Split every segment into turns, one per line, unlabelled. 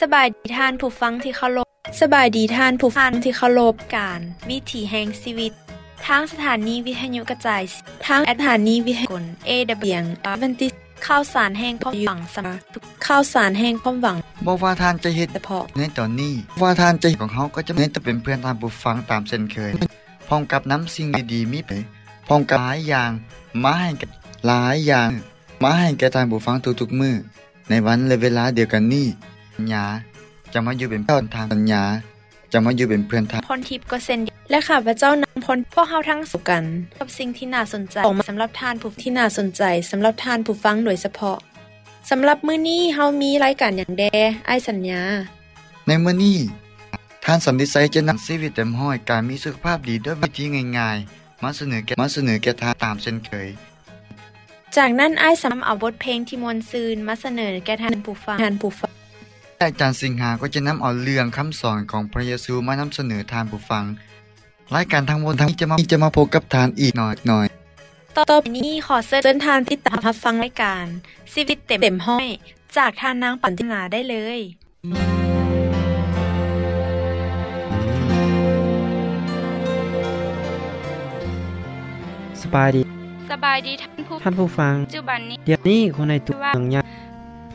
สบายดีท่านผู้ฟังที่เคารพ สบายดีท่านผู้ฟังที่เคารพการ วิถีแห่งชีวิต ทางสถานีวิทยุกระจายเสียงทางสถานีวิทยุกล AW วันที่ข่าวสารแห่งความหวังสำหรับทุกข่าวสารแห่งความหวัง
บ่ว่าทานจะเฮ็ด
เฉพาะ
ในตอนนี้ว่าทานจะเฮ็ดของเฮาก็จะเน้นแต่เป็นเพื่อนตามผู้ฟังตามเช่นเคย พร้อมกับน้ำสิ่งดีๆมีไปพร้อมกับหลายอย่างมาให้กับหลายอย่าง มาให้แก่ทานผู้ฟังทุกๆมื้อในวันและเวลาเดียวกันนี้สัญญาจะมาอยู่เป็นเพื่อนทางสัญญาจะมาอยู่เป็นเพื่อนทาง
พรทิพย์ก็เช่นเดียวและข้าพเจ้านางพรพวกเฮาทั้งสุขกัน กับสิ่งที่น่าสนใจของสำหรับท่านผู้ที่น่าสนใจสำหรับท่านผู้ฟังโดยเฉพาะสำหรับมื้อนี้เฮามีรายการอย่างแดอ้ายสัญญา
ในมื้อนี้ท่านสันติไซจะนำชีวิตเต็มห้อยการมีสุขภาพดีด้วยวิธีง่ายๆ มาเสนอแก่มาเสนอแก่ทานตามเช่นเคย
จากนั้นอ้ายสำนำเอาบทเพลงที่มวนซืนมาเสนอแก่ท่านผู้ฟังท่านผู้ฟัง
อาจารย์สิงหาก็จะนำเอาเรื่องคำสอนของพระเยซูมานำเสนอทานผู้ฟัง รายการทั้งหมดทั้งนี้จะมาจะมาพบกับทานอีกหน่อยหน่อย
ต่อไปนี้ขอเชิญทานที่ตามรับฟังรายการชีวิตเต็มเต็มห้อย จากทานนางปันตินาได้เลย
สบายดี
สบายดีท่านผู้
ท่านผู้ฟัง
ปัจจุบันนี้
เดี๋ยวนี้คนในตัวเมืองยะ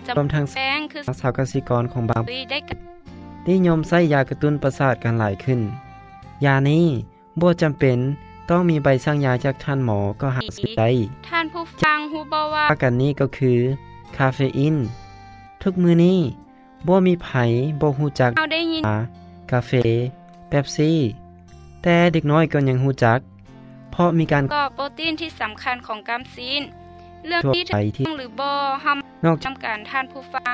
จ
รวมทั้ง
ำแป้งคือ
สาวกสิกรของบาง
ปุยได้กับ
ที่นิยมใช้ยากระตุ้นประสาทกันหลายขึ้น ยานี้บ่จำเป็นต้องมีใบสั่งยาจากท่านหมอก็หาซื้อได้
ท่านผู้ฟังฮู้บ่ว่า
ว่ากันนี้ก็คือคาเฟอีนทุกมือนี้บ่มีไผบ่ฮู้จัก
เราได้ยิน
กาเฟเป๊ปซี่ แต่เด็กน้อยก็ยังฮู้จัก เพราะมีการ
ก็โปรตีนที่สำคัญของกรามซีน เรื่อง
ทั่ว
ที่
ไป
ถูก
ที่
ต้องหรือบ่ห้าม
นอกจาก
จำการท่านผู้ฟัง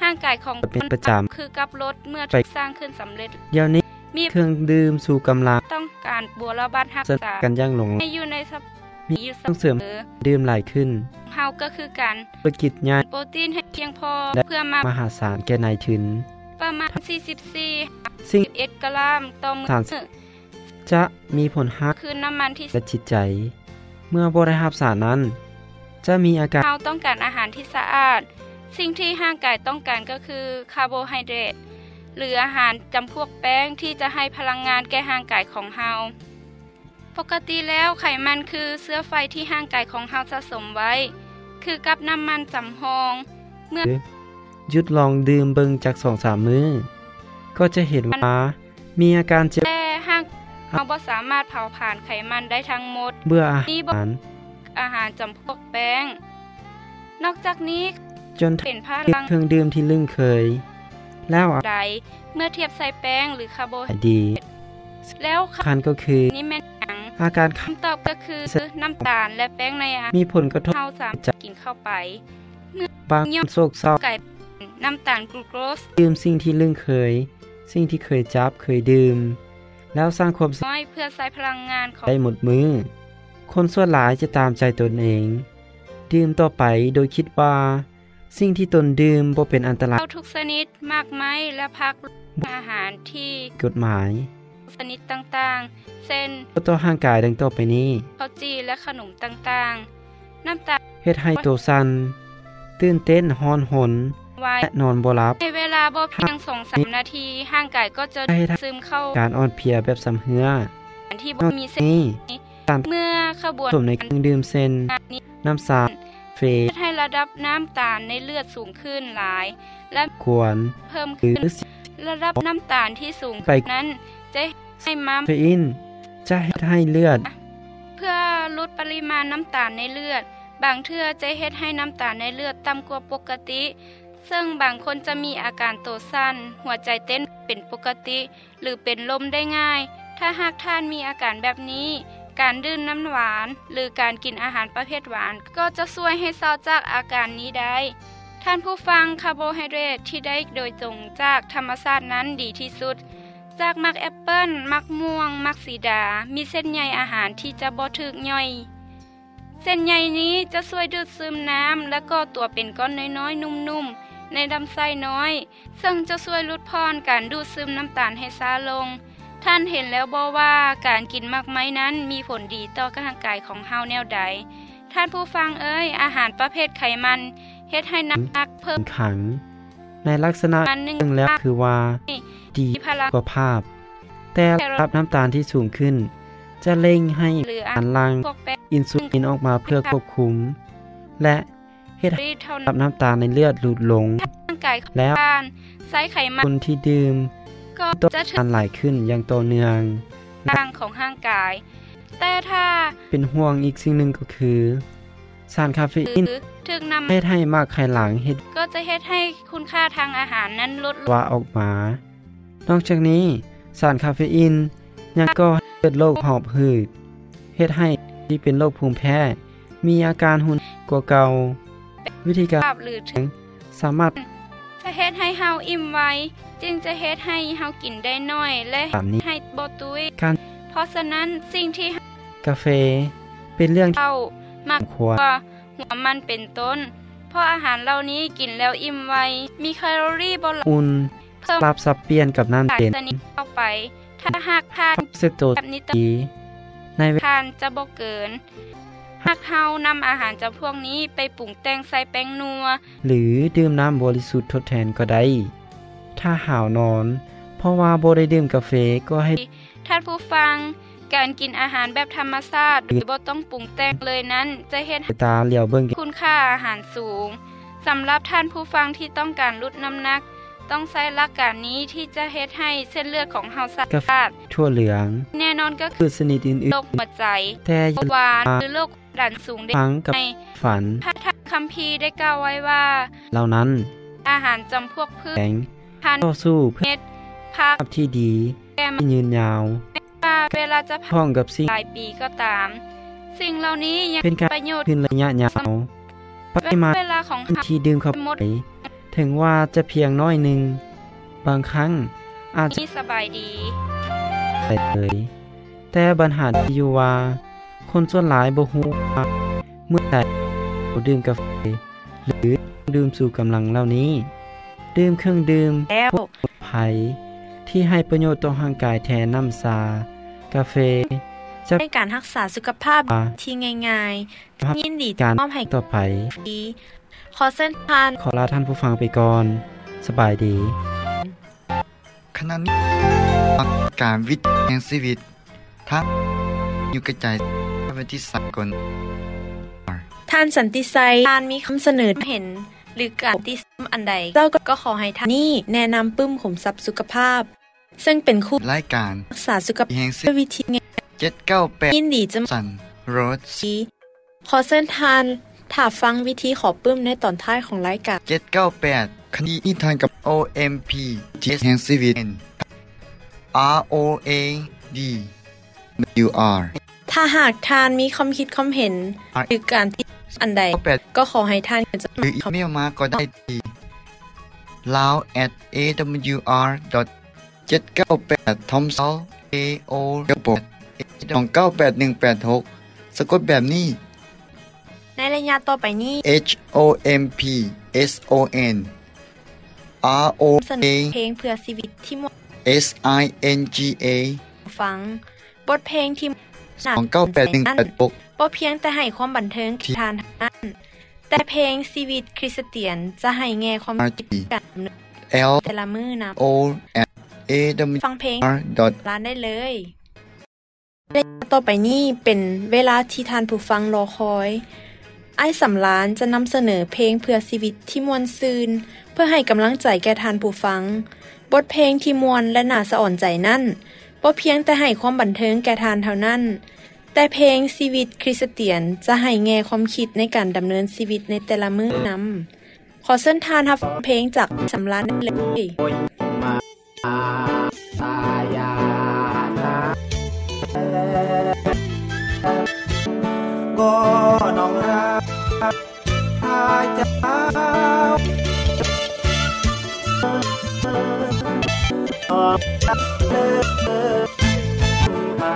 ห่างกายของ
เป็นประจำ
คือกับรถเมื่อถูกสร้างขึ้นสำเร็จ
เดี๋ยวนี้
มี
เครื่องดื่มสู่กำลัง
ต้องการบัวระบาดรัก
ส
ษา
กันอย่างหลงไหล
ให้อยู่ในสภาพ
มี
ดีอยู่เส
ต้องเสริม
มอ
ดื่มหลายขึ้น
เฮาก็คือการ
ธุรกิจใหญ่
โปรตีนให้เพียงพอเพื่อมาม
หาศาลแก่นายทุน
ประมาณ 44
ซึ่ง
11กรัมต่อมื
สามสิ
้อบ
จะมีผลฮัก
คือน้ำมันที่
และจิตใจ เมื่อบ่ได้รับสารนั้น จะมีอาการ
เราต้องการอาหารที่สะอาด สิ่งที่ห่างกายต้องการก็คือคาร์โบไฮเดรตหรืออาหารจำพวกแป้งที่จะให้พลังงานแก่ห่างกายของเฮาปกติแล้วไขมันคือเสื้อไฟที่ห่างกายของเฮาสะสมไว้ คือกับน้ำมันสำรอง
หยุดลองดื่มเบิงจาก2-3มื้อ ก็จะเห็นว่ามีอาการเจ็บ
แต่ห่างเฮาบ่สามารถเผาผลาญไขมันได้ทั้งหมด
เบื่ออา
นี่บ่
หาร
อาหารจำพวกแป้ง นอกจากนี้
จน
เป็นพลัง
เครื่องดื่มที่ลึ่งเคย แล้วอา
ใดเมื่อเทียบใส่แป้งหรือคาร์โบไฮ
หารดี
แล้วค่ะ
คันก็คือ
นี่แม่นหยัง
อาการคัน
คำตอบก็คือน้ำตาลและแป้งในอาหาร
มีผลกระทบ
เฮาสามารถกินเข้าไป
บางโศกเศร้า
ไก่น้ำตาลกลูโคส
ดื่มสิ่งที่ลึ่งเคย สิ่งที่เคยจับเคยดื่ม แล้วสร้างความสน
น้อยเพื่อใช้พลังงานของ
ได้หมดมือ คนส่วนหลายจะตามใจตนเอง ดื่มต่อไปโดยคิดว่า สิ่งที่ตนดื่มบ่เป็นอันตราย
ข้าวทุกชนิดมากไม้และพักอาหารที่
กฎหมาย
ชนิดต่างๆ เช่น
ต่อห่างกายดังต่อไปนี้
ข้าวจีและขนมต่างๆ น้ำตาล
เฮ็ดให้ตัวสั่นตื่นเต้นฮ้อนหน
ไวาย
และนอนบ่หลับ
ในเวลาบ่เพียง2-3นาทีห่างไก่ก็จะ
ให้ทำ
ซึมเข้า
การอ่อนเพลียแบบสำเหือ
อาหารที่บ่มีเส้น
นี่
เมื่อขบวน
ผสมในเครื่องดื่มเส้น น้ำสารเฟร
เฮ็ดให้ระดับน้ำตาลในเลือดสูงขึ้นหลาย และ
กวน
เพิ่ม
หรื
ข
อ
ึ้
น
ระดับน้ำตาลที่สูง
ไป
นั้นจะให้ม้าม
เฟอีนจะเฮ็ดให้เลือด
เพื่อลดปริมาณน้ำตาลในเลือด บางเทื่อจะเฮ็ดให้น้ำตาลในเลือดต่ำกว่าปกติ ซึ่งบางคนจะมีอาการตัวสั่นหัวใจเต้นเป็นปกติ หรือเป็นลมได้ง่าย ถ้าหากท่านมีอาการแบบนี้ การดื่มน้ำหวาน หรือการกินอาหารประเภทหวาน ก็จะช่วยให้เศร้าจากอาการนี้ได้ ท่านผู้ฟังคาร์โบไฮเดรตที่ได้โดยตรงจากธรรมชาตินั้นดีที่สุด จากมักแอปเปิลมักม่วง มักสีดา มีเส้นใยอาหารที่จะบ่ถึกย่อย เส้นใยนี้จะช่วยดูดซึมน้ำ และก็ตัวเป็นก้อนน้อยๆ นุ่มๆ ในลำไส้น้อย ซึ่งจะช่วยลดพรการดูดซึมน้ำตาลให้ช้าลง ท่านเห็นแล้วบ่ว่าการกินมากไม้นั้นมีผลดีต่อร่างกายของเฮาแนวใด ท่านผู้ฟังเอ้ยอาหารประเภทไขมันเฮ็ดให้น้ำหนักเพิ่ม
ขัง ในลักษณะ
อันหนึ่ง
หนึ่งแล้วคือว่า ดี
มีพลัง
กว่าภาพ แต่ระดับน้ำตาลที่สูงขึ้น จะเร่งให้
เหลือ
อันลัง
พวกแบค
อินซูลินออกมาเพื่อควบคุม และเฮ็ด
ที
ให้
เรีเท่า
ระ
นั้
ดั
น
บน้ำตาลในเลือดหลุดลง
ร่างกายของ
แล้ว
บ้านไซไขมั
คนนที่ดื่ม
ก็
ต้อง
จะถึง
การไหลขึ้นอย่างต่อเนื่อง
ทางของร่างกาย แต่ถ้า
เป็นห่วงอีกสิ่งหนึ่งก็คือ สารคาเฟ
ห
อีน
รือถึงนำ
เฮ็ดให้มากไขหลังเฮ็ด
ก็จะเฮ็ดให้คุณค่าทางอาหารนั้นลดลง
ว่าออกมา นอกจากนี้สารคาเฟอีนยังก่อให้เกิดโรคหอบหืดเฮ็ดให้ที่เป็นโรคภูมิแพ้ มีอาการหุนกว่าเก่า วิธีการ
ภาพหรือถึง
สามารถ
จะเฮ็ดให้เฮาอิ่มไวจึงจะเฮ็ดให้เฮากินได้น้อยและ
สารนี้
ให้บ่ตุ้ย
การ
เพราะฉะนั้นสิ่งที่
กาเฟเป็นเรื่องที่
เฮามัก
ควร
ว่าหัวมันเป็นต้น เพราะอาหารเหล่านี้กินแล้วอิ่มไว มีแคลอรี่บน
อุ่น
เพิ่ม
ปรับสับเปลี่ยนกับน้ำ
สาร
เย็น
ชนิดเข้าไป ถ้าหากทาน
เซโต
แบบนี้
ตีในเวลา
ทานจะบ่เกิน หากเฮานำอาหารจำพวกนี้ไปปรุงแต่งใส่แป้งนัว
หรือดื่มน้ำบริสุทธิ์ทดแทนก็ได้ ถ้าหาวนอน เพราะว่าบ่ได้ดื่มกาเฟก็ให้
ท่านผู้ฟัง การกินอาหารแบบธรรมชาติหรือบ่ต้องปรุงแต่งเลยนั้น จะเฮ็ดให้
ตาเหลียวเบิ่ง
คุณค่าอาหารสูงสำหรับท่านผู้ฟังที่ต้องการลดน้ำหนัก ต้องใช้หลักการนี้ที่จะเฮ็ดให้เส้นเลือดของเฮาสะ
กาแฟ
อาด
ทั่วเหลือง
แน่นอนก็คื
คือ อสนิทอื่น
โรคหัวใจ
ๆ แต่อ
เบา
ย่า
หวานหรือโรคความดันสูงได้
ฟังกับ
ใน
ฝัน
พระธรรมคัมภีร์ได้กล่าวไว้ว่า
เหล่านั้น
อาหารจำพวกพืช
แข็ง
พันธุ์
ต่อสู้เพื่อ
พัก
ภาพที่ดีที่ยืนยาว
ว่าเวลาจะผ่าน
พ้องกับสิ่ง
หลายปีก็ตาม สิ่งเหล่านี้ยัง
เป็นการ
ประโยชน์
ขึ้นระยะยาวปริมาณ
เวลาของเฮา
ที่ดื่มเข้าไปถึงว่าจะเพียงน้อยหนึ่ง บางครั้งอาจจะ
ที่สบายดี
ไปเลย แต่ปัญหาที่อยู่ว่า คนส่วนหลายบ่ฮู้ว่าเมื่อใดเขาดื่มกาแฟหรือดื่มสู่กำลังเหล่านี้ ดื่มเครื่องดื่ม
แล้ว
ภัยที่ให้ประโยชน์ต่อร่างกายแทนน้ำชา กาเฟ
ในการรักษาสุขภาพ
อ่า
ที่ง่ายๆ ยินดี
การ
มอบให้
ต่อไป
ฟรีขอเส้นทาน
ขอลาท่านผู้ฟังไปก่อน สบายดี
ขณะนี้การวิทย์แห่งชีวิตทั้งอยู่กระจายเป็นที่สากล
ท่านสันติไซย์ท่านมีคำเสนอเห็น หรือการติสมอันใดเจ้าก็ขอให้ท่านนี่แนะนำปึ้มขมทรัพย์สุขภาพ ซึ่งเป็นคู่
รายการ
รักษาสุขภาพ
แห่งชี
ด้วย
วิต
วิธีง่ายยิ
798
นดีจะ
สันโรส
ชี้ขอเส้นทานถ้าฟังวิธีขอปึ้มในตอนท้ายของรายการ
798คดีนิทานกับ OMP เจแห่งชีวิต R O A D U R
ถ้าหากท่านมีความคิดความเห็น หรือการติอันใด
98
ก็ขอให้ท่านจะ
หรืออีเมลมาก็ได้ที่ lao at awr 798 thomsal ao 9 8 1 8 6สะกดแบบนี้
ในระยะต่อไปนี้
h o m p s o n r o
เสน
a
อเพลงเพื่อชีวิตที่เหมาะ
s i n g a
ฟัง บทเพลงที่หนัก
2 9 8 1 8 6
บ่เพียงแต่ให้ความบันเทิงแก่ทานเท่านั้นแต่เพลงชีวิตคริสเตียนจะให้แง่ความคิดกันดำเนิน
l
แต่ละมือนะ
o at a w
ฟังเพลง
r dot
ร้านได้เลยและต่อไปนี้เป็นเวลาที่ทานผู้ฟังรอคอย ไอ้สำล้านจะนำเสนอเพลงเพื่อชีวิตที่มวนซืน เพื่อให้กำลังใจแก่ทานผู้ฟัง บทเพลงที่มวนและน่าสะอ่อนใจนั่นบ่เพียงแต่ให้ความบันเทิงแก่ทานเท่านั้น แต่เพลงชีวิตคริสเตียนจะให้แง่ความคิดในการดำเนินชีวิตในแต่ละมื้อนำขอเส้นทานรับฟังเพลงจากไอ้สำล้านได้เลย
ก็น้องรักอาเจ้าออกเลิกมา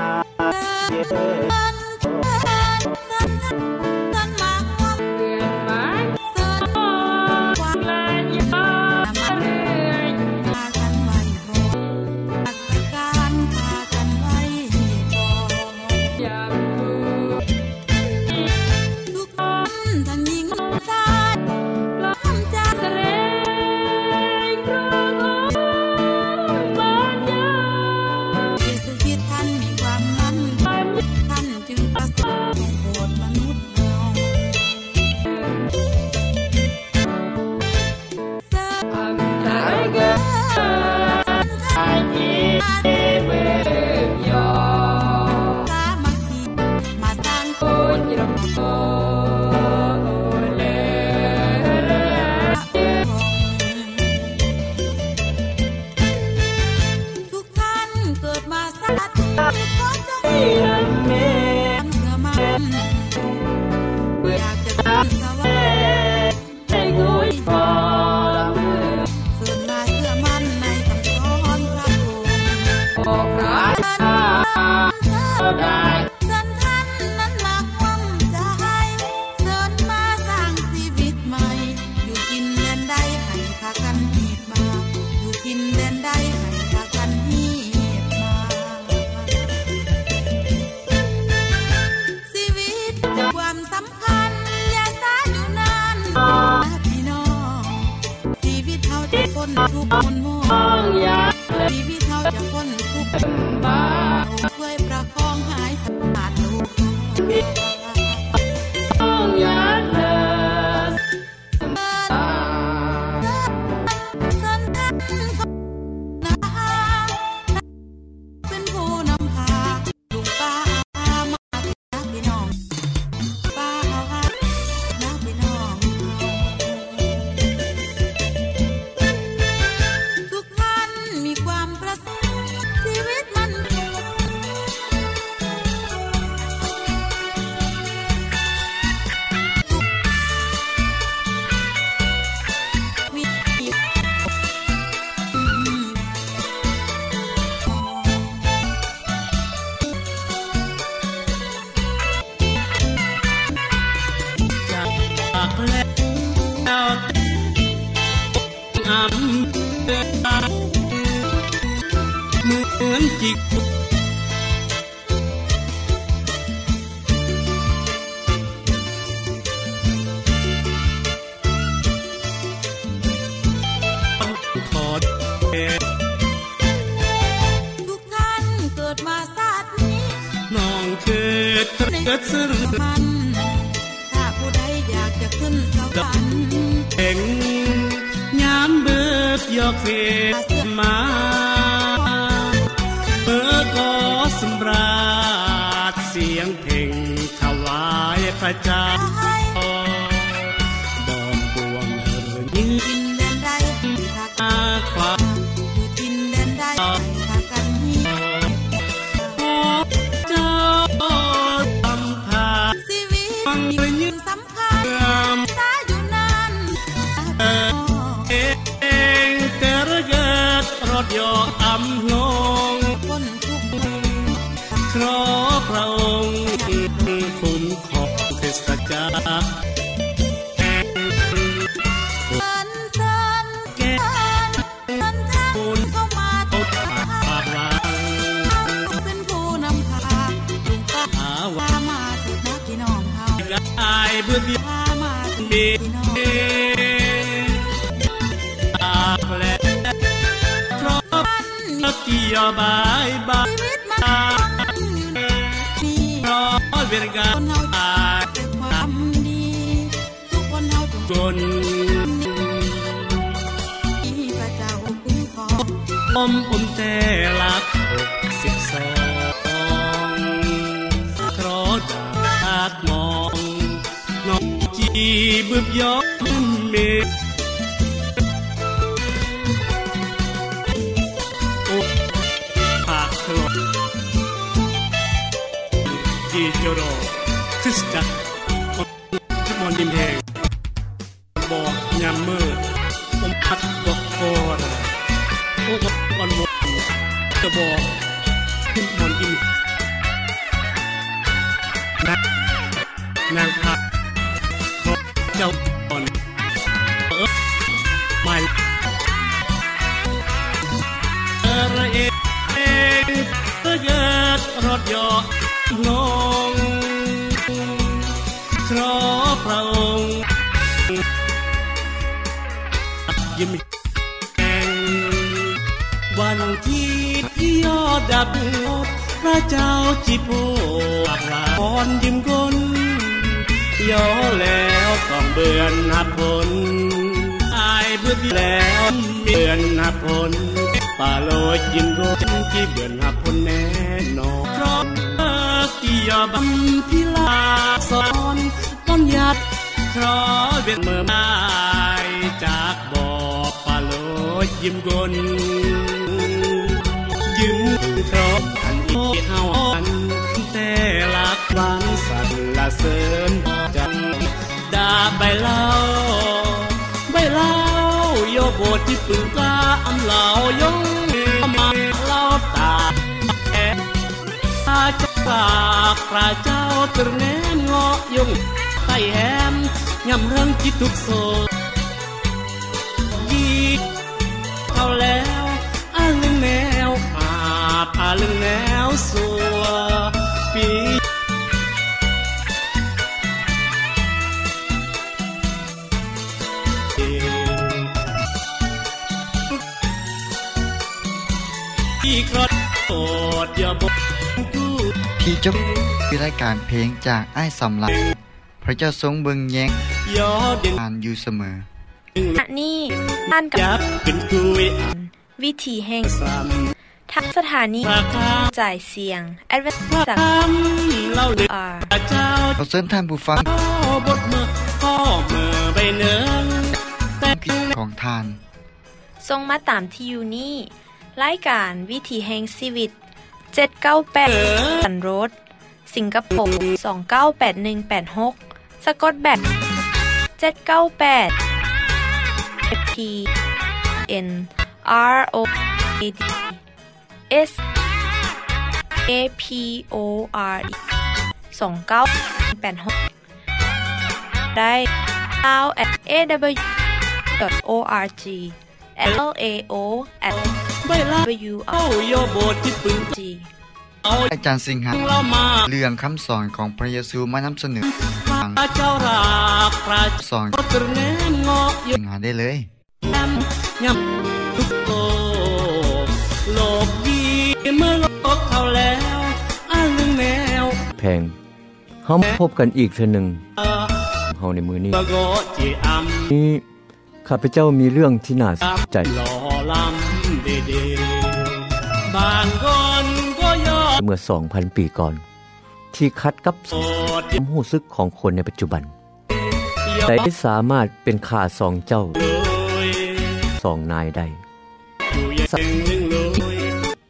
เย็น
ทั้งหญิงชายพร้อมใจ
Thank you.
ทุกคนมองอยากชีวิตเฮาจะพ้นทุกข์บ้าช่วยประคองหายขาดลูกต้องอยากเธอเป็นผู้นำพาลูกป้ามาพี่น้องป้าเอาหาน้าพี่น้อง ทุกท่านมีความประสงค์ชีวิตมันมี
จากแล้วอำเดินเหมือนจิกขอเอ่ย
ทุกท่านเกิดมาชาตินี้
น้องเกิดเกิดซึ่ง
มันถ้าผู้ใดอยากจะขึ้นสวรรค์
แห่งยามเบิดยอกเสมา เปิดขอสำราญเสียงเพลงถวายพระเจ้าบอมบวงเหินยืน
กินแดนใดถ้า
หน้าความ
อยู่กินแดนใดถ้ากันนี้
ขอเจ้าทำพา
ชีวิต
ฟังไปยืน
สำคัญ
เอื้อม
ตาอยู่นานตาอยู่นาน
เองแต่ระเกิดรถยออำลง
คนทุกข์
ขอพระองค์คุ้มครองคริสตจักร
สันสัน
แก้ว
สันทางเข้ามา
ป
ทา
ดปากปากลาง
งเป็นผู้นำพาลุงป้า
หา
พา
ว่า
มาถึงนักพี่น้องเฮา
อายเบื่อเบีย
พามาถึง
เบีย
พี่น้อง
ตากแหลกเพราะเราเที่ยวบายบาย
ชีวิตมันมันอยู่ในนี่
เพราะเวรกรรมอาย
เป็นความดีทุกคนเฮาจง
จน
มีพระเจ้าคุ้มครอง
อมอมแต่หลักหกสิบสองเพราะดากมอง น้องจีบึบยอมเมฆโอ้ผากโคลจีโจโรคริสจักรคนทมอนดิมแหงบอกยามมืดอมพัดบอกโครโอ้กอนวงจะบอกขึ้นมอนดิมนะนางพา เจ้าก่อนเออไม่เออเองเองเออเกิดรถยอดลงขอพระองค์ยิ้มแห่งวันที่ยอดดับพระเจ้าจิโพหลักหลอนยิ้มกลน ย้อแล้วต้องเบือนหับผลอายเบื่อแล้วเบือนหับผลป่าโลดยินโกนที่เบือนหับผลแน่นอนเพราะเออที่ยอบัมพิลาสอนต้นหยาดเพราะเวียนเมื่อไม้จากบอกป่าโลดยิ้มกลยิ้มเพราะอันที่เฮาอัน เล่าใบเล่าโยโบทที่ปึงกล้าอำเหลายงมาเล่าตาแอบตาจะปากพระเจ้าตรแนมเงาะยงไต่แหมยำเรื่องจิตทุกโศกยีเข้าแล้วอาลึงแนวอาบอาลึงแนวสัวปี ที่ครอดโอดอย่าบอกกู
ที่จบคือรายการเพลงจากไอ้ายสำลักพระเจ้าทรงเบิงแยง
ยอเด่น
อ่านอยู่เสมอ
ณนี่ท่านกับ
ยับเป็นกุย
วิถีแห่ง
สาม
ทั้งสถานี
พระค
จ่ายเสียงแอดเวน
ำพระ
จาก
คำเล่าเด็ก
อา
พระเจ้า
เราเชิญท่านผู้ฟัง
เจ้าบทมือพ่อมือใบเนืองแต่
ของทาน
ทรงมาตามที่อยู่นี่รายการวิถีแห่งชีวิต 798สันโรดสิงคโปร์298186 สะกดแบบ 798 T N R O A D S A P O R E 2986 ได้ now at aw.org l a o at
ใบเล่า
w r
เอ้าโยโบทที่ปึง
g
เอา
อาจารย์สิงหา
เล่ามา
เรื่องคำสอนของพระเยซูมานำเสนอ
พระเจ้ารักพระ
สอน
เจ้าตรแนมเงาะย
สิ
ง
งหาได้เลย
แอมยำทุกโตโลกดีเมื่อโลกเขาแล้วอันแนว
แพงเฮามาพบกันอีกเทื่อหนึ่งเฮาในมือนี้
บะโกจีอัม
นี้ข้าพเจ้ามีเรื่องที่น่าสนใจ
หล่อลำเดเดบางคนก็ยอม
เมื่อ 2,000 ปีก่อน ที่คัดกับ
โอด
ความรู้สึกของคนในปัจจุบัน แต่ได้สามารถเป็นข่าสองเจ้า
เลย
สองนายได้
อยู่อยังหนึ่งเลย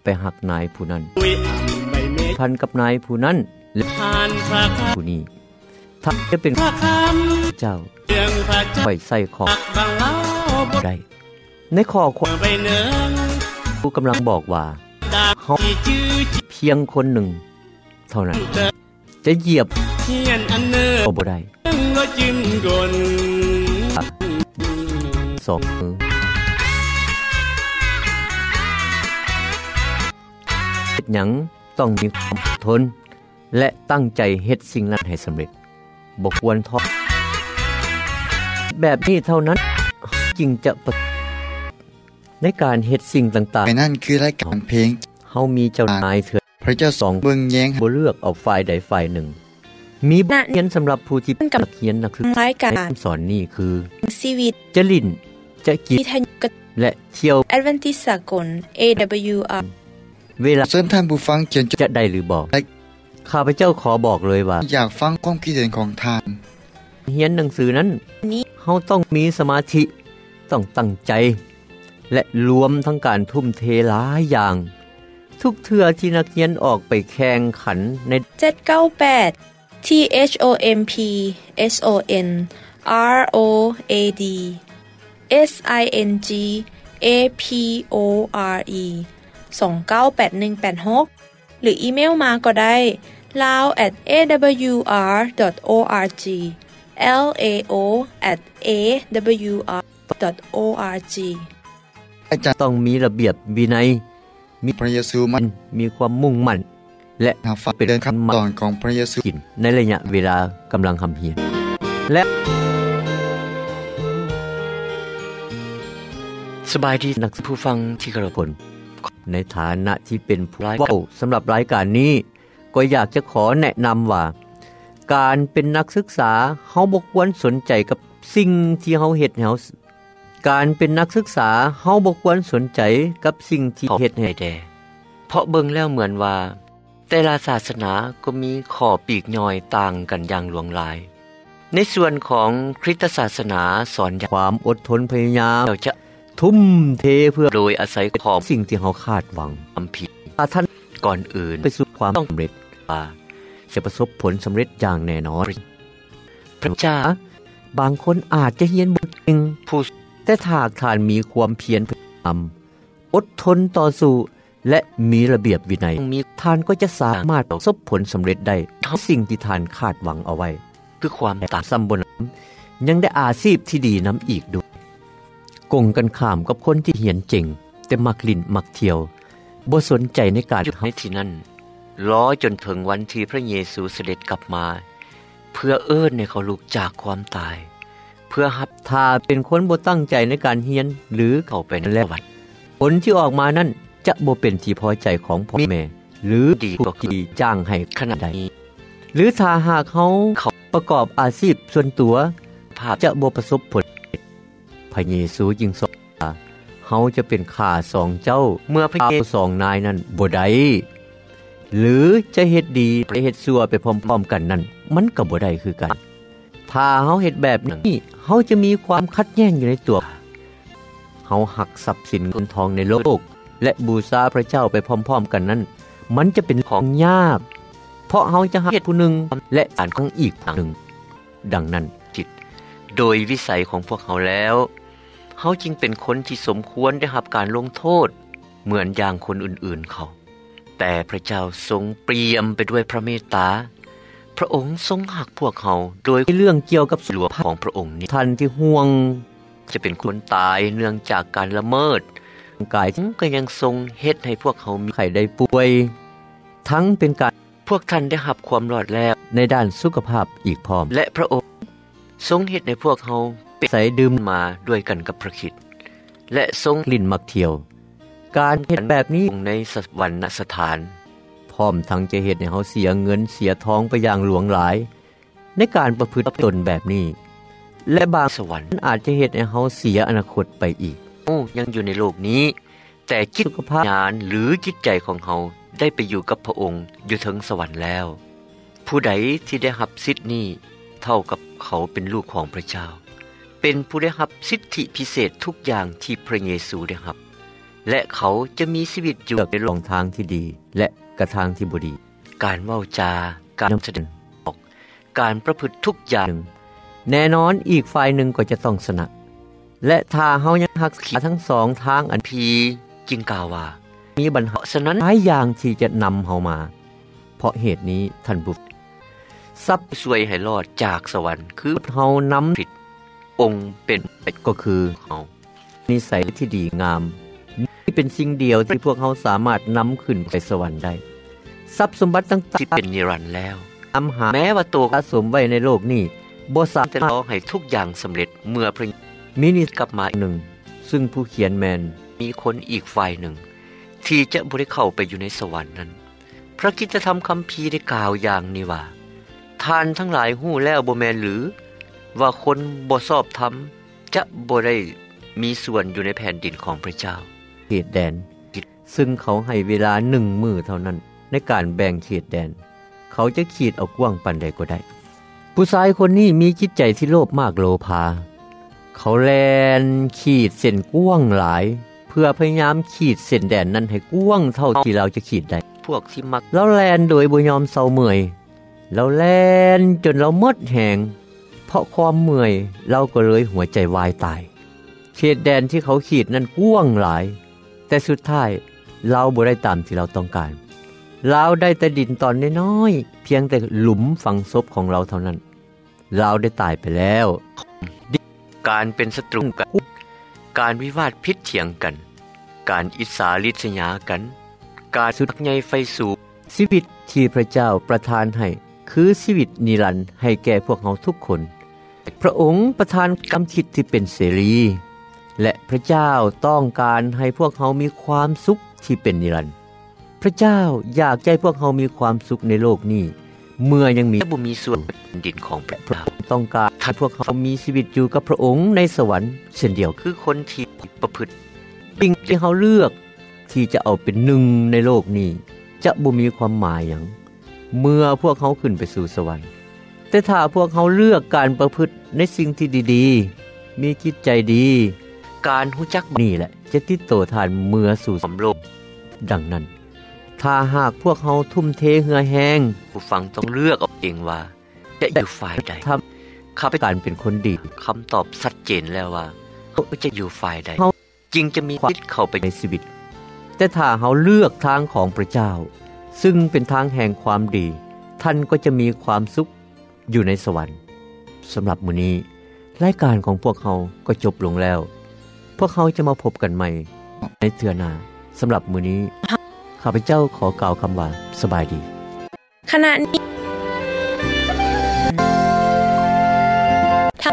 ไปหักนายผู้นั้น
คุยอัมไม่เมฆ
พันกับนายผู้นั้นและ
ทานพระค
ผู้นี้ถ้าจะเป็น
ำพระคำ
เจ้า
เรื่องพระเจ้า
ไปใส่ของ
ตักบางเล่าบท
ได้ ในข้อความ
ไปเนือง
ผู้กำลังบอกว่า
ดาบที่จื้อจิ
เพียงคนหนึ่ง เท่านั้น
เตอ
จะเหยียบ
เทียนอันเนื้อ
ก็บ่ได้
ก็จิ้มกล
สองมือเฮ็ดหยังต้องมีความอดทน และตั้งใจเฮ็ดสิ่งนั้นให้สำเร็จบ่ควรท้อแบบนี้เท่านั้นจึงจะประในการเฮ็ดสิ่งต่าง
ไปนั่นคือรายการเพลง
ๆเฮามีเจ้านายเถิด
พระเจ้าทรงเบิงแยง
บ่เลือกเอาฝ่ายใดฝ่ายหนึ่ง มีบทเรียนสำหรับผู้ที่เป็นนักเรียนนักศึกษาร
ายการ
ในคำสอนนี้คือ
ชีวิต
จะลิ้นจะกิน
วิทยุกระ
และเที่ยว
แอดเวนทิสสากล AWR
เวลา
เชิญท่านผู้ฟังเขียนจด
จะได้หรือบอก
ได้
ข้าพเจ้าขอบอกเลยว่า
อยากฟังความคิดเห็นของทาน
เฮียนหนังสือนั้น
นี้
เฮาต้องมีสมาธิ ต้องตั้งใจ และรวมทั้งการทุ่มเทหลายอย่าง ทุกเทื่อที่นักเรียนออกไปแข่งขันใน
798 T H O M P S O N R O A D S I N G A P O R E 298186 หรืออีเมลมาก็ได้ lao at awr.org lao at awr.org
อาจารย์
ต้องมีระเบียบวินัย
พระเยซูมั
มันนมีความมุ่งมั่น และ
หาฟังเดินคำสอนของพระเยซู
กินในระยะเวลากำลังทำเฮียน และสบายดีนักผู้ฟังที่กระผล ในฐานะที่เป็นผู้ร้ายเว้าสำหรับรายการนี้ ก็อยากจะขอแนะนำว่า การเป็นนักศึกษาเฮาบ่ควรสนใจกับสิ่งที่เฮาเฮ็ดให้เฮาการเป็นนักศึกษาเฮาบ่ควรสนใจกับสิ่งที่เฮ็ดให้แด่เพราะเบิ่งแล้วเหมือนว่า แต่ละศาสนาก็มีขอปีกย่อยต่างกันอย่างหลวงหลาย ในส่วนของคริสตศาสนาสอนความอดทนพยายามเราจะทุ่มเทเพื่อโดยอาศัยของสิ่งที่เขาคาดหวังอำผิดถ้าท่านก่อนอื่นไปสู่ความต้องสำเร็จว่าจะประสบผลสำเร็จอย่างแน่นอนพระเจ้า บางคนอาจจะเฮียนบ่เก่งผู้แต่ถากทานมีความเพียรพยายามอดทนต่อสู้ และมีระเบียบวินัยมีทานก็จะสามารถประสบผลสำเร็จได้ทั้งสิ่งที่ทานคาดหวังเอาไว้ คือความแตกต่างซ้ำบนนั้นยังได้อาชีพที่ดีน้ำอีกด้วยกงกันข้ามกับคนที่เหียนเจ๋งแต่มักลิ้นมักเที่ยวบ่สนใจในการทำที่นั่นรอจนถึงวันที่พระเยซูเสด็จกลับมา เพื่อเอิ้นให้เขาลุกจากความตาย เพื่อหับทาเป็นคนบ่ตั้งใจในการเฮียนหรือเข้าไปในแลวัด ผลที่ออกมานั้นจะบ่เป็นที่พอใจของพ่อแม่ หรือดีกว่าที่จ้างให้ขนาดใด หรือถ้าหากเขาเขาประกอบอาชีพส่วนตัว ภาพจะบ่ประสบผลพระเยซูจึงสอนว่าเฮาจะเป็นข้าสองเจ้า เมื่อพระเยซูสองนายนั้นบ่ได้หรือจะเฮ็ดดีไปเฮ็ดชั่วไปพร้อมๆกันนั้น มันก็บ่ได้คือกัน ถ้าเฮาเฮ็ดแบบนี้เฮาจะมีความขัดแย้งอยู่ในตัว เฮาหักทรัพย์สินเงินทองในโลก และบูชาพระเจ้าไปพร้อม ๆ กันนั้น มันจะเป็นของยาก เพราะเฮาจะหาเหตุผู้หนึ่งและอ่านของอีกผู้หนึ่ง ดังนั้นจิต โดยวิสัยของพวกเขาแล้วเฮาจึงเป็นคนที่สมควรได้รับการลงโทษ เหมือนอย่างคนอื่นๆเขา แต่พระเจ้าทรงเปี่ยมไปด้วยพระเมตตา พระองค์ทรงหักพวกเขาโดยเรื่องเกี่ยวกับหลวงของพระองค์นี้ท่านที่ห่วงจะเป็นคนตายเนื่องจากการละเมิดกายก็ยังทรงเฮ็ดให้พวกเขามีไข้ได้ป่วย ทั้งเป็นการพวกท่านได้รับความรอดแล้วในด้านสุขภาพอีกพร้อม และพระองค์ทรงเฮ็ดให้พวกเขาเป็นสายดื่มมาด้วยกันกับพระคริสต์และทรงลิ้นมักเที่ยว การเฮ็ดแบบนี้ในสวรรณสถาน พร้อมทั้งจะเฮ็ดให้เฮาเสียเงินเสียทองไปอย่างหลวงหลาย ในการประพฤติตนแบบนี้ และบางสวรรค์อาจจะเฮ็ดให้เฮาเสียอนาคตไปอีกโอ้ยังอยู่ในโลกนี้ แต่จิตสุขภาพญาณหรือจิตใจของเฮาได้ไปอยู่กับพระองค์อยู่ถึงสวรรค์แล้ว ผู้ใดที่ได้รับสิทธิ์นี้เท่ากับเขาเป็นลูกของพระเจ้า เป็นผู้ได้รับสิทธิพิเศษทุกอย่างที่พระเยซูได้รับ และเขาจะมีชีวิตอยู่ในหลงทางที่ดี และกระทางที่บ่ดี การเว้าจา การนำแสดงออก การประพฤติทุกอย่าง แน่นอนอีกฝ่ายหนึ่งก็จะต้องชนะ และถ้าเฮายังหักขีทั้งสองทางอันพีจึงกล่าวว่า มีบัญหาฉะนั้นหลายอย่างที่จะนำเฮามา เพราะเหตุนี้ท่านผู้ทรัพย์สวยให้รอดจากสวรรค์คือเฮานำผิด องค์เป็นก็คือเฮานิสัยที่ดีงาม นี่เป็นสิ่งเดียวที่พวกเฮาสามารถนำขึ้นไปสวรรค์ได้ ทรัพย์สมบัติต่างๆที่เป็นนิรันดร์แล้วอำหาแม้ว่าตัวสะสมไว้ในโลกนี้บ่สามารถรอให้ทุกอย่างสำเร็จเมื่อพระมินิกลับมาอีกหนึ่ง ซึ่งผู้เขียนแมนมีคนอีกฝ่ายหนึ่ง ที่จะบ่ได้เข้าไปอยู่ในสวรรค์นั้น พระกิจธรรมคัมภีร์ได้กล่าวอย่างนี้ว่าท่านทั้งหลายหู้แล้วบ่แม่นหรือ ว่าคนบ่สอบธรรมจะบ่ได้มีส่วนอยู่ในแผ่นดินของพระเจ้าเขตแดน ซึ่งเขาให้เวลาหนึ่งมือเท่านั้น ในการแบ่งเขตแดน เขาจะขีดเอากว้างปันใดก็ได้ ผู้ชายคนนี้มีจิตใจที่โลภมากโลภา เขาแลนขีดเส้นกว้างหลาย เพื่อพยายามขีดเส้นแดนนั้นให้กว้างเท่าที่เราจะขีดได้ พวกที่มักแล้วแลนโดยบ่ยอมเซาเมื่อยเราแล่นจนเราหมดแหง เพราะความเมื่อยเราก็เลยหัวใจวายตาย เขตแดนที่เขาขีดนั้นกว้างหลาย แต่สุดท้ายเราบ่ได้ตามที่เราต้องการ เราได้แต่ดินตอนน้อยๆเพียงแต่หลุมฝังศพของเราเท่านั้น เราได้ตายไปแล้ว การเป็นศัตรูกัน การวิวาทพิษเถียงกัน การอิสาลิษยากัน การสุดใหญ่ไฟสูบชีวิตที่พระเจ้าประทานให้คือชีวิตนิรันดร์ให้แก่พวกเราทุกคน พระองค์ประทานกรรมคิดที่เป็นเสรี และพระเจ้าต้องการให้พวกเรามีความสุขที่เป็นนิรันดร์พระเจ้าอยากให้พวกเรามีความสุขในโลกนี้ เมื่อยังมีบ่มีส่วนดินของพระเจ้าต้องการให้พวกเรามีชีวิตอยู่กับพระองค์ในสวรรค์เช่นเดียวคือคนที่ประพฤติสิ่งที่เขาเลือกที่จะเอาเป็นหนึ่งในโลกนี้ จะบ่มีความหมายหยังเมื่อพวกเขาขึ้นไปสู่สวรรค์ แต่ถ้าพวกเขาเลือกการประพฤติในสิ่งที่ดีๆ มีจิตใจดี การหู้จักนี่แหละ จะติดโตทานเมื่อสู่สมโลก ดังนั้น ถ้าหากพวกเขาทุ่มเทเหือแห้งผู้ฟังต้องเลือกเอาเองว่า จะอยู่ฝ่ายใด ข้าพเจ้าเป็นคนดีคำตอบชัดเจนแล้วว่าเขาจะอยู่ฝ่ายใดเขาจึงจะมีความคิดเข้าไปในชีวิต แต่ถ้าเขาเลือกทางของพระเจ้า ซึ่งเป็นทางแห่งความดี ท่านก็จะมีความสุขอยู่ในสวรรค์สำหรับมื้อนี้รายการของพวกเขาก็จบลงแล้ว พวกเขาจะมาพบกันใหม่ ในเทือหนาสำหรับมื้อนี้ ข้าพเจ้าขอกล่าวคำว่าสบายดี
ขณะนี้ท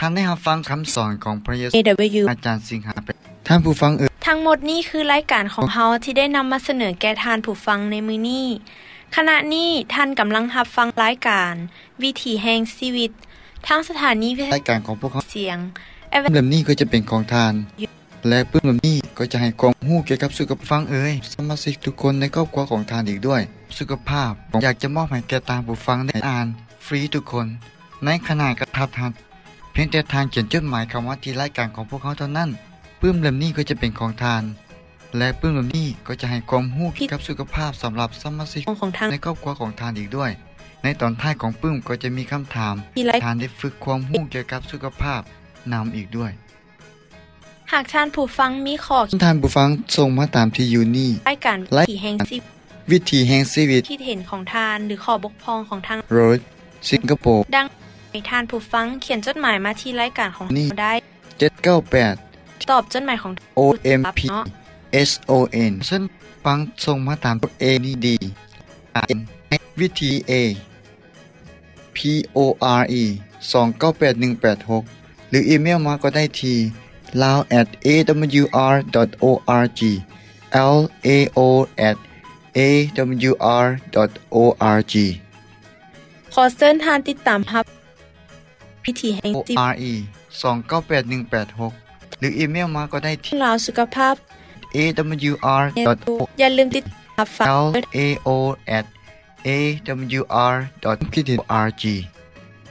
าง
ท่านได้รับฟังคำสอนของพระเยซู
AW
อาจารย์สิงหาเป็นท่านผู้ฟังเอ่ย
ทั้งหมดนี้คือรายการของเฮาที่ได้นำมาเสนอแก่ทานผู้ฟังในมือนี้ ขณะนี้ท่านกำลังรับฟังรายการ วิถีแห่งชีวิต ทางสถานีวิทยุ
รายการของพวกเขา
เสียง
ปึ้มเล่มนี้ก็จะเป็นของทาน และปึ้มเล่มนี้ก็จะให้ความรู้เกี่ยวกับสุขภาพฟังเอ่ยสมาชิกทุกคนในครอบครัวของทานอีกด้วย สุขภาพผมอยากจะมอบให้แก่ตามผู้ฟังได้อ่าน ฟรีทุกคน ในขณะกระทัดหันเพียงแต่ทานเขียนจดหมายคำว่าที่รายการของพวกเขาเท่านั้นปึ้มเล่มนี้ก็จะเป็นของทาน และปึ้มเล่มนี้ก็จะให้ความรู้เกี่ยวกับสุขภาพสำหรับสมาชิก
ของทาง
ในครอบครัวของทานอีกด้วย ในตอนท้ายของปึ้มก็จะมีคำถาม
ที่ไลฟ์
ทานได้ฝึกความรู้เกี่ยวกับสุขภาพนำอีกด้วย
หากท่านผู้ฟังมีข้อคิด
ท่านผู้ฟังส่งมาตามที่อยู่นี่
รายการวิถีแห่งชีวิต
วิธีแห่งชีวิต
คิดเห็นของทานหรือข้อบกพร่องของทาง
โรดสิงคโปร์
ดังให้ท่านผู้ฟังเขียนจดหมายมาที่รายการของเราได้
798
ตอบจดหมายของ
OMP SON ฉันฟังส่งมาตาม A D D R N วิธี A P O R E 298186 หรืออีเมลมาก็ได้ที่ lao at awr.org l a o at awr.org
ขอเชิญท่านติดตามรับพิธีแห่ง
o
ชีวิต
r e 298186 หรืออีเมลมาก็ได้ที่
เรื่องราวสุขภาพ
awr.
อย่าลืมติดตามฟัง
l a o at awr. org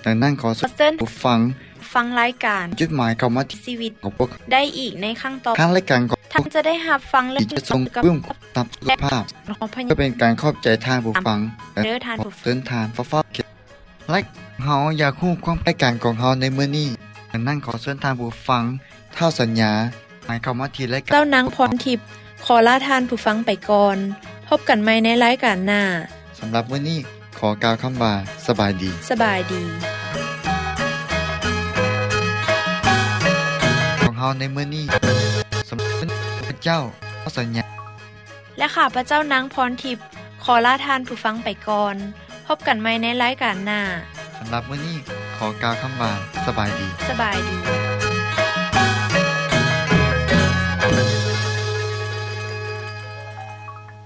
ดังนั้นขอส
ขอเชิญ
ผู้ฟัง
ฟังรายการ
จดหมายคำว่าที่
ชีวิต
ของพวกเขา
ได้อีกในครั้งต่อ
ทางรายการของ
ท่านจะได้หับฟังเรื่อ
ที่
ง
จะทรง
สุข
เพิ่ม
ภาพ
ตามสุขภาพ
ของพระเย
ก็
ซู
เป็นการขอบใจทางผู้ฟัง
เด้อทางผู้ฟัง
เส้นทางฟ้าฟ้าเขียวและเฮาอยากฮู้ความรายการของเฮาในมื้อนี้ดังนั้นขอเส้นทางผู้ฟังเท่าสัญญา หมายคำว่าที่รายการ
เจ้านางพรทิพย์ขอลาทานผู้ฟังไปก่อน พบกันใหม่ในรายการหน้า
สำหรับมื้อนี้ขอกล่าวคำว่าสบายดี
สบายดี
ของเฮาในมื้อนี้สำหรับพระเจ้าขอสัญญา
และข้าพระเจ้านางพรทิพย์ขอลาทานผู้ฟังไปก่อน พบกันใหม่ในรายการหน้า
สำหรับมื้อนี้ขอกล่าวคำว่าสบายดี
สบายดี